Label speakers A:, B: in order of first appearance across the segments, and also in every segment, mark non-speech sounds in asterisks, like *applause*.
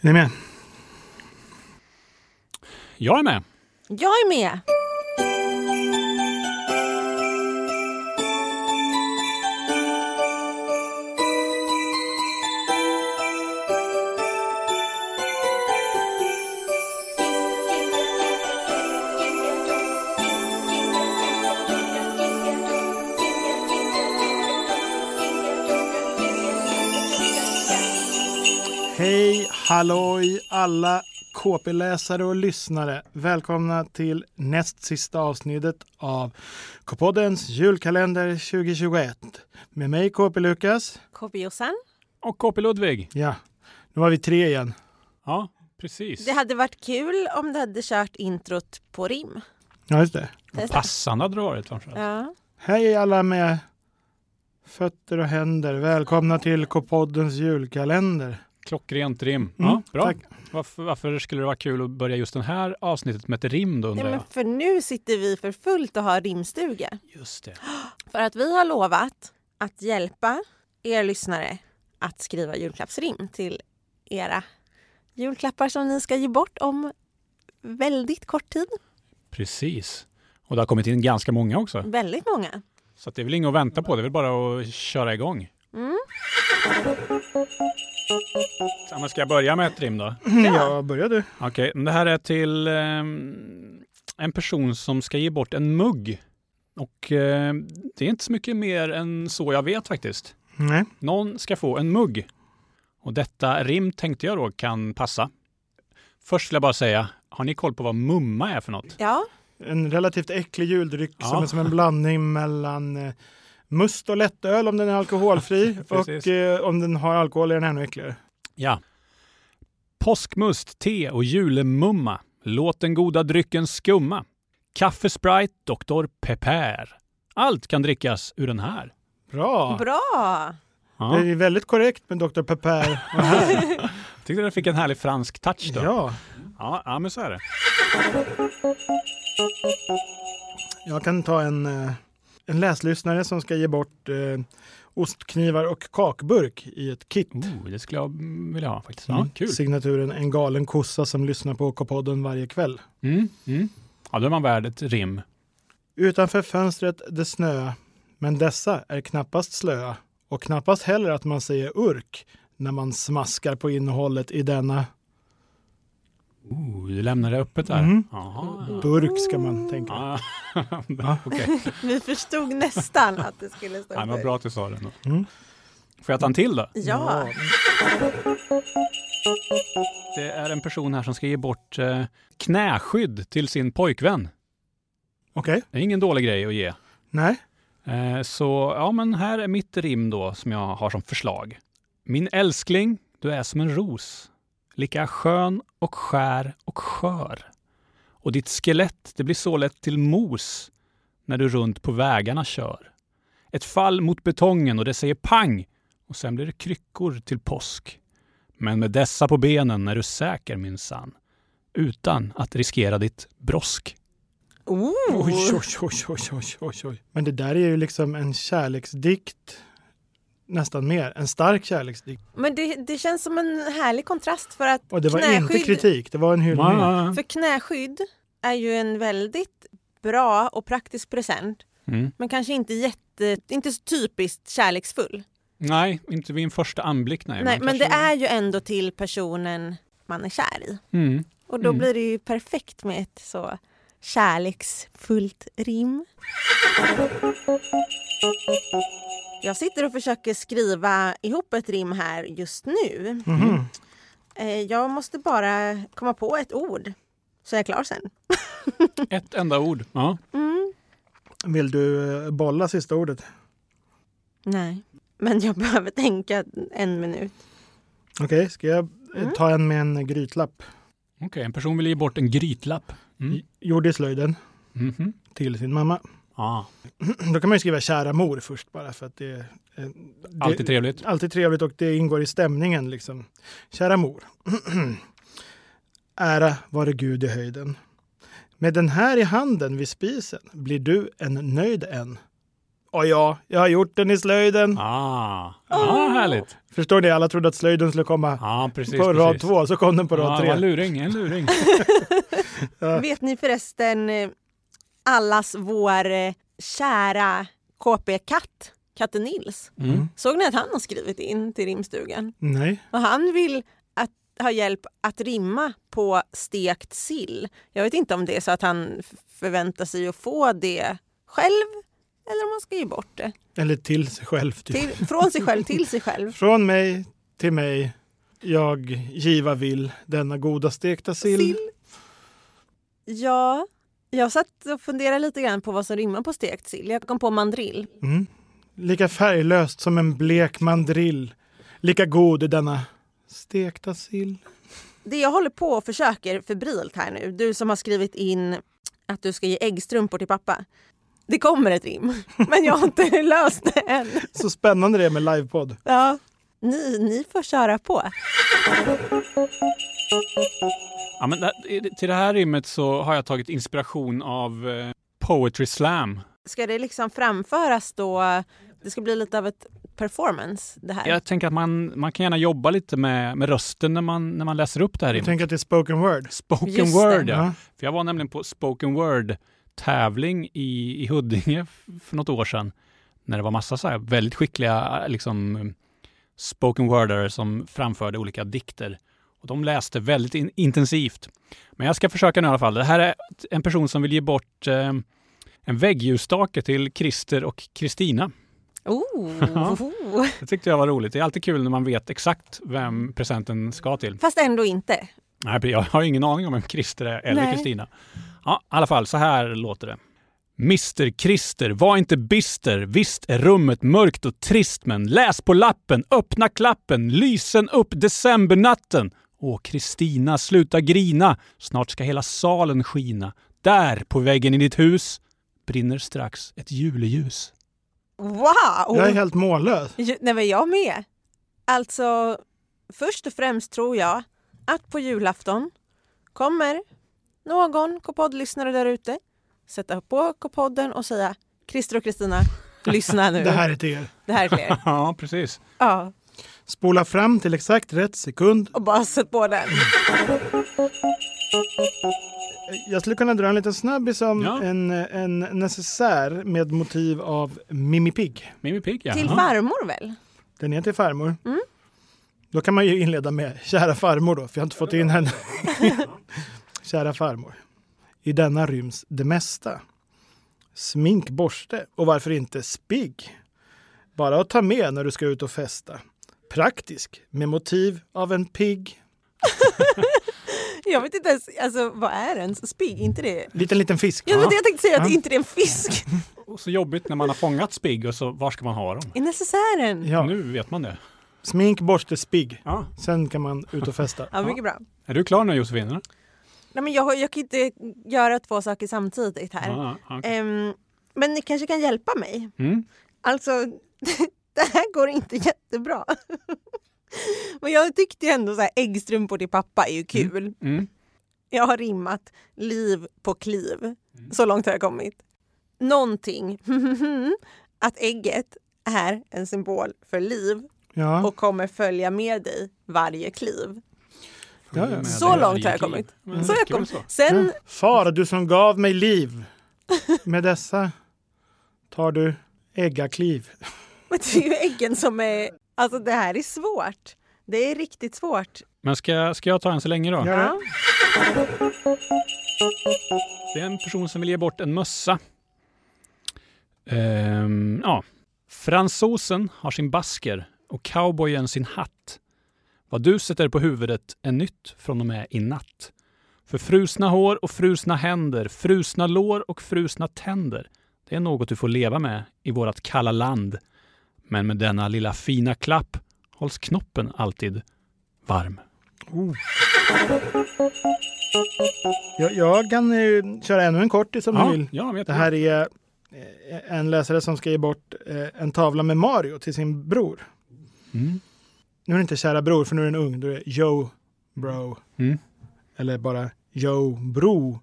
A: Är ni med?
B: Jag är med.
C: Jag är med!
A: Hej, halloj alla KP-läsare och lyssnare. Välkomna till näst sista avsnittet av K-poddens julkalender 2021. Med mig KP-Lukas.
C: KB-Jossan.
B: Och KP Ludvig.
A: Ja, nu var vi tre igen.
B: Ja, precis.
C: Det hade varit kul om du hade kört introt på rim.
A: Ja, just det.
C: Testa.
B: Passande hade det varit framförallt.
C: Ja.
A: Hej alla med fötter och händer. Välkomna till K-poddens julkalender.
B: Klockrent rim.
A: Mm,
B: Ja, bra.
A: tack.
B: Varför, varför skulle det vara kul att börja just det här avsnittet med ett rim då
C: Nej,
B: undrar jag?
C: men för nu sitter vi för fullt och har rimstuga.
B: Just det.
C: För att vi har lovat att hjälpa er lyssnare att skriva julklappsrim till era julklappar som ni ska ge bort om väldigt kort tid.
B: Precis. Och det har kommit in ganska många också.
C: Väldigt många.
B: Så att det är väl inget att vänta på. Det är väl bara att köra igång.
C: Mm.
B: Ja, men ska jag börja med ett rim då?
A: Ja, börjar du.
B: Okej, men det här är till ehm, en person som ska ge bort en mugg. Och ehm, det är inte så mycket mer än så jag vet faktiskt.
A: Nej.
B: Någon ska få en mugg. Och detta rim tänkte jag då kan passa. Först vill jag bara säga, har ni koll på vad mumma är för något?
C: Ja,
A: En relativt äcklig juldryck
B: Ja.
A: som är som en blandning mellan eh, must och lättöl om den är
B: *laughs*
A: alkoholfri
B: Precis.
A: och eh, om den har alkohol är den ännu äckligare.
B: Ja. Påskmust, te och julemumma. Låt den goda drycken skumma. Kaffe Sprite, Dr. Pepper. Allt kan drickas ur den här.
A: Bra!
C: bra!
B: Ja,
A: Det är väldigt korrekt med Dr.
B: *laughs*
A: Pepper.
B: jag tyckte den fick en härlig fransk touch då.
A: ja,
B: Ja, ja, men så är det.
A: jag kan ta en, eh, en läslyssnare som ska ge bort eh, ostknivar och kakburk i ett kit.
B: Oh, det skulle jag mm, vilja ha faktiskt. Ja, kul.
A: Signaturen En galen kossa som lyssnar på K-podden varje kväll.
B: Mm, mm. Ja, då är man värd ett rim.
A: Utanför fönstret det snöa, men dessa är knappast slöa och knappast heller att man säger urk när man smaskar på innehållet i denna
B: Oh, du lämnar det öppet där.
A: Mm.
B: Aha.
A: burk ska man tänka.
B: Ah, *laughs* Okej,
C: Vi förstod nästan att det skulle stå
B: Nej, men vad bra att du sa det. ändå.
A: Mm.
B: Får jag ta en till då?
C: Ja,
B: Det är en person här som ska ge bort eh, knäskydd till sin pojkvän.
A: Okej,
B: Det är ingen dålig grej att ge.
A: nej.
B: Eh, så ja, men här är mitt rim då som jag har som förslag. Min älskling, du är som en ros. Lika skön och skär och skör. Och ditt skelett, det blir så lätt till mos när du runt på vägarna kör. Ett fall mot betongen och det säger pang och sen blir det kryckor till påsk. Men med dessa på benen är du säker minsann. Utan att riskera ditt brosk.
C: Oh.
A: Oj, oj, oj, oj, oj, oj, oj. Men det där är ju liksom en kärleksdikt nästan mer, en stark kärleksdikt.
C: Men det, det känns som en härlig kontrast för att
A: Och det var inte
C: knäskydd,
A: kritik, det var en hyllning.
C: för knäskydd är ju en väldigt bra och praktisk present.
B: Mm.
C: Men kanske inte jätte, inte så typiskt kärleksfull.
B: Nej, inte vid en första anblick. Nej,
C: Nej, men det är ju ändå till personen man är kär i.
B: Mm.
C: Och då
B: Mm.
C: blir det ju perfekt med ett så kärleksfullt rim. Jag sitter och försöker skriva ihop ett rim här just nu.
A: Mhm.
C: Eh, Jag måste bara komma på ett ord så är jag klar sen.
B: Ett enda ord. Ja.
C: Mm.
A: Vill du eh, bolla sista ordet?
C: Nej, men jag *laughs* behöver tänka en minut.
A: Okej, ska jag eh,
C: Mm.
A: ta en med en grytlapp?
B: Okej, en person vill ge bort en grytlapp. Mm.
A: Gjorde i slöjden
B: Mhm.
A: till sin mamma.
B: Ja,
A: Då kan man ju skriva kära mor först bara för att det är eh, det-
B: alltid trevligt.
A: alltid trevligt och det ingår i stämningen liksom. Kära mor. *clears throat* Ära vare Gud i höjden. Med den här i handen vid spisen blir du en nöjd en. Och ja, jag har gjort den i slöjden.
B: Ah, ah härligt.
A: Förstår ni? Alla trodde att slöjden skulle komma
B: Ja, precis.
A: på rad
B: precis.
A: två, så kom den på
B: ah,
A: rad
B: vad
A: tre.
B: luring, en luring.
C: Vet ni förresten eh, allas vår eh, kära KP-katt, katten Nils?
B: Mm.
C: Såg ni att han har skrivit in till rimstugan?
A: Nej.
C: Och han vill att, ha hjälp att rimma på stekt sill. Jag vet inte om det är så att han f- förväntar sig att få det själv eller om han ska ge bort det.
A: Eller till sig själv. Typ.
C: Till, från sig själv till sig själv.
A: Från mig till mig. Jag giva vill denna goda stekta sill.
C: Sill. Ja, jag satt och funderade lite grann på vad som rimmar på stekt sill. Jag kom på mandrill.
A: Mm. Lika färglöst som en blek mandrill. Lika god är denna stekta sill.
C: Det jag håller på och försöker febrilt här nu, du som har skrivit in att du ska ge äggstrumpor till pappa. Det kommer ett rim, *laughs* men jag har inte *laughs* löst det än.
A: Så spännande det är med livepodd.
C: Ja. Ni, ni får köra på.
B: Ja, men det- till det här rimmet så har jag tagit inspiration av eh, Poetry Slam.
C: Ska det liksom framföras då? Det ska bli lite av ett performance det här.
B: Jag tänker att man, man kan gärna jobba lite med, med rösten när man, när man läser upp det här
A: Jag
B: rimmet.
A: tänker att det är spoken word.
B: Spoken
C: Just det.
B: word, ja.
A: Ja.
B: För jag var nämligen på spoken word-tävling i, i Huddinge f- för något år sedan. När det var massa så här väldigt skickliga liksom, spoken wordare som framförde olika dikter. Och de läste väldigt in, intensivt. Men jag ska försöka nu i alla fall. Det här är t- en person som vill ge bort eh, en väggljusstake till Christer och Kristina.
C: Oh. oh.
B: Det tyckte jag var roligt. Det är alltid kul när man vet exakt vem presenten ska till.
C: Fast ändå inte.
B: Nej, jag har ingen aning om vem Christer är eller
C: Nej.
B: Kristina. Ja, i alla fall, så här låter det. Mr Christer, var inte bister. Visst är rummet mörkt och trist, men läs på lappen, öppna klappen, lysen upp decembernatten. Åh, Kristina, sluta grina. Snart ska hela salen skina. Där, på väggen i ditt hus, brinner strax ett juleljus.
C: Wow!
A: Jag är helt mållös.
C: Ju- Nej, men jag med. Alltså, först och främst tror jag att på julafton kommer någon K-podd-lyssnare där ute sätta på K-podden och säga Christer och Kristina, lyssna
A: *laughs*
C: nu.
A: Det här är till er.
C: Det här är till er.
B: Ja, precis.
C: Ja,
A: Spola fram till exakt rätt sekund.
C: och bara sätt på den.
A: Jag skulle kunna dra en liten snabbis om
B: Ja.
A: en, en necessär med motiv av Mimmi Pigg.
B: Mimmi Pigg, ja.
C: Till
B: Ja.
C: farmor väl?
A: Den är till farmor.
C: Mm.
A: Då kan man ju inleda med kära farmor då, för jag har inte fått in
C: *laughs*
A: henne. kära farmor. I denna ryms det mesta. Smink, borste och varför inte spigg? Bara att ta med när du ska ut och festa. Praktisk med motiv av en pigg.
C: Jag vet inte ens, alltså vad är ens spigg? Inte det?
A: Liten, liten fisk.
C: Ja, men jag tänkte säga att
A: Ja.
C: inte det är en fisk
B: Och så jobbigt när man har fångat spigg och så, var ska man ha dem?
C: i necessären.
A: Ja.
B: Nu vet man det.
A: Smink, borste, spigg.
B: Ja.
A: Sen kan man ut och festa.
C: Ja, mycket bra.
B: Är du klar nu Josefin?
C: Nej, men jag, jag kan inte göra två saker samtidigt här.
B: Ja, ja, Ah, okej.
C: Ehm, men ni kanske kan hjälpa mig?
B: Mm.
C: Alltså, *laughs* det här går inte jättebra. *laughs* Men jag tyckte ju ändå så här, äggstrumpor till pappa är ju kul.
B: Mm.
C: Jag har rimmat liv på
B: Mm.
C: kliv. Så långt har jag kommit. Någonting. *laughs* Att ägget är en symbol för liv
A: Ja.
C: och kommer följa med dig varje kliv.
A: Ja, ja.
B: Med
C: Så
B: det.
C: långt har jag kommit.
B: Men
C: Så jag
B: Mm, kul
C: kom.
B: så.
C: Sen, *laughs*
A: Mm. Far, du som gav mig liv. Med dessa tar du äggakliv.
C: men det är ju äggen som är... Alltså det här är svårt. Det är riktigt svårt.
B: Men ska, ska jag ta en så länge då?
A: Ja.
C: Ja.
B: Det är en person som vill ge bort en mössa. Ehm, ja. Fransosen har sin basker och cowboyen sin hatt. Vad du sätter på huvudet är nytt från och med i natt. För frusna hår och frusna händer, frusna lår och frusna tänder. Det är något du får leva med i vårt kalla land. Men med denna lilla fina klapp hålls knoppen alltid varm.
A: Oh. Jag, jag kan eh, köra ännu en kortis om
B: Ja,
A: du vill.
B: ja, men jag
A: Det
B: tror-
A: här är eh, en läsare som ska ge bort eh, en tavla med Mario till sin bror.
B: Mm.
A: Nu är det inte kära bror, för nu är den ung. Då är det Yo bro.
B: Mm.
A: Eller bara Yo bro.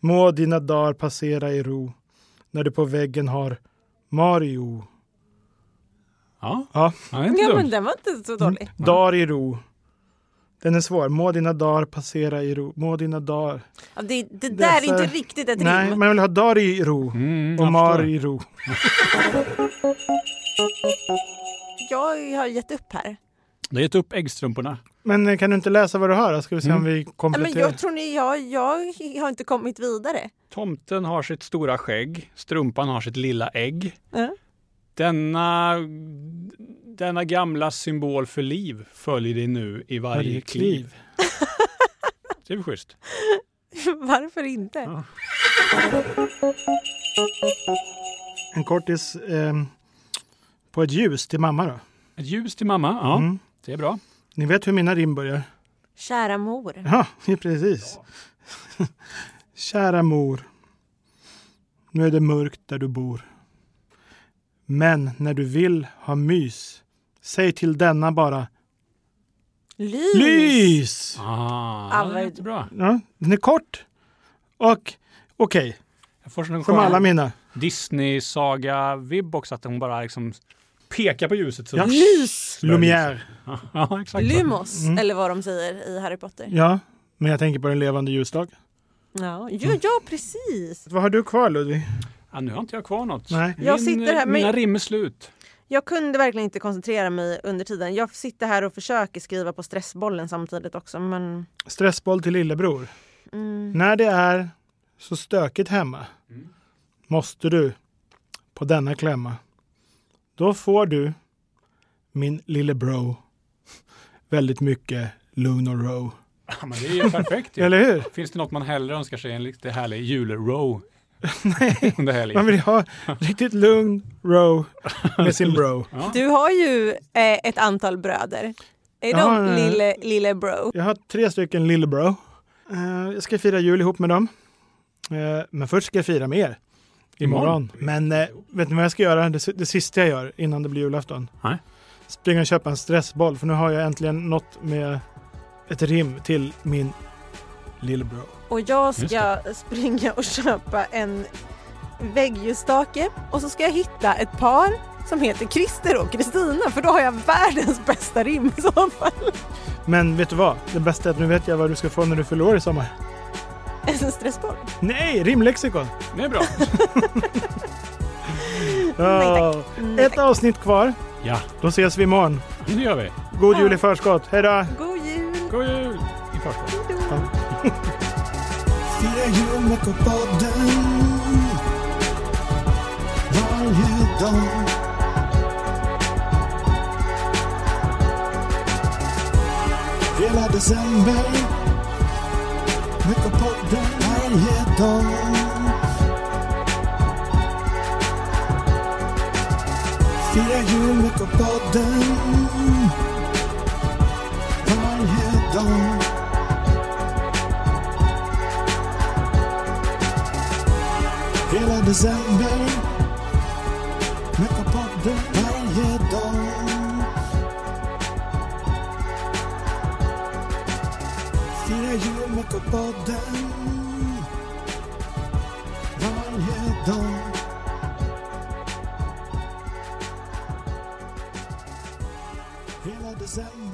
A: Må dina dagar passera i ro när du på väggen har Mario,
B: Ja,
A: Ja.
B: den är inte
C: Ja, men
B: dum.
C: den var inte så dålig.
A: Dar i ro. Den är svår. Må dina dagar passera i ro. Må dina dagar...
C: Ja, det, det
A: Det är
C: där är
A: för-
C: inte riktigt ett
A: Nej,
C: rim.
A: man vill ha dar i ro
B: Mm,
A: och
B: jag
A: mar
B: förstår.
A: i ro.
C: Jag har gett upp här.
B: Du har gett upp äggstrumporna.
A: Men eh, kan du inte läsa vad du har? då? Ska vi se om
B: Mm.
A: vi
C: Ja, men
A: kompletterar.
C: jag tror ni, jag, jag har inte kommit vidare.
B: Tomten har sitt stora skägg, strumpan har sitt lilla ägg.
C: Ja.
B: Denna, denna gamla symbol för liv följer dig nu i varje,
A: Varje
B: kliv.
A: kliv.
B: *laughs* Det är väl schysst?
C: *laughs* Varför inte?
B: Ja.
A: En kortis ehm, på ett ljus till mamma då.
B: Ett ljus till mamma, ja.
A: Mm.
B: Det är bra.
A: Ni vet hur mina rim börjar?
C: Kära mor.
A: Ja, *laughs* precis. Kära mor. Nu är det mörkt där du bor. Men när du vill ha mys, säg till denna bara
C: Lys.
A: LYS!
B: Ah,
C: Ja,
B: det
C: vad-
B: är jättebra.
A: Ja, den är kort och okej,
B: Jag får
A: som
B: sån skön
A: alla mina.
B: Disney-saga-vibb också, att hon bara liksom pekar på ljuset. Så.
A: Ja.
C: Lys.
A: Lumière.
B: *laughs* ja exakt. så.
C: Lumos, eller vad de säger i Harry Potter.
A: Ja, men jag tänker på den levande ljusstaken.
C: Ja, ja, ja precis.
A: Vad har du kvar Ludvig?
B: Ja, nu har inte jag kvar något.
A: Nej.
C: Jag sitter här med-
B: Mina rim är slut.
C: Jag kunde verkligen inte koncentrera mig under tiden. Jag sitter här och försöker skriva på stressbollen samtidigt också, men
A: Stressboll till lillebror.
C: mm,
A: När det är så stökigt hemma måste du på denna klämma. Då får du, min lille bro, väldigt mycket lugn och ro.
B: Ja, men det är ju perfekt
A: *laughs*
B: ju.
A: Eller hur?
B: Finns det något man hellre önskar sig än lite härlig
A: *laughs*
B: julrow? Nej. Under helgen?
A: Man vill ju ha riktigt lugn, ro med sin bro.
C: Du har ju eh, ett antal bröder. Är
A: Ja,
C: de
A: ja, ja.
C: lille, lille bro?
A: Jag har tre stycken lillebro. Eh, jag ska fira jul ihop med dem. Eh, men först ska jag fira med er. Imorgon. Men eh, vet ni vad jag ska göra? Det, si- det sista jag gör innan det blir julafton.
B: Nej.
A: Springa och köpa en stressboll. För nu har jag äntligen nått med ett rim till min lillebro.
C: Och jag
B: Just
C: ska springa och köpa en väggljusstake och så ska jag hitta ett par som heter Christer och Kristina för då har jag världens bästa rim i så fall. *laughs*
A: Men vet du vad? Det bästa är att nu vet jag vad du ska få när du förlorar i sommar.
C: En stressboll.
A: Nej, rimlexikon!
B: Det är bra.
A: Ja.
C: Mm,
A: Ett avsnitt kvar.
B: Ja,
A: Då ses vi imorgon.
B: det gör vi.
A: God
C: Ja.
A: jul i förskott. Hej då!
C: God jul!
B: God jul i förskott.
C: Hejdå.
D: Fira jul med K-podden Varje dag Hela december Med K-podden Varje dag Fira jul med K-podden Varje dag Hela december Mecka-podden varje dag Fira jul Mecka-podden varje dag Hela december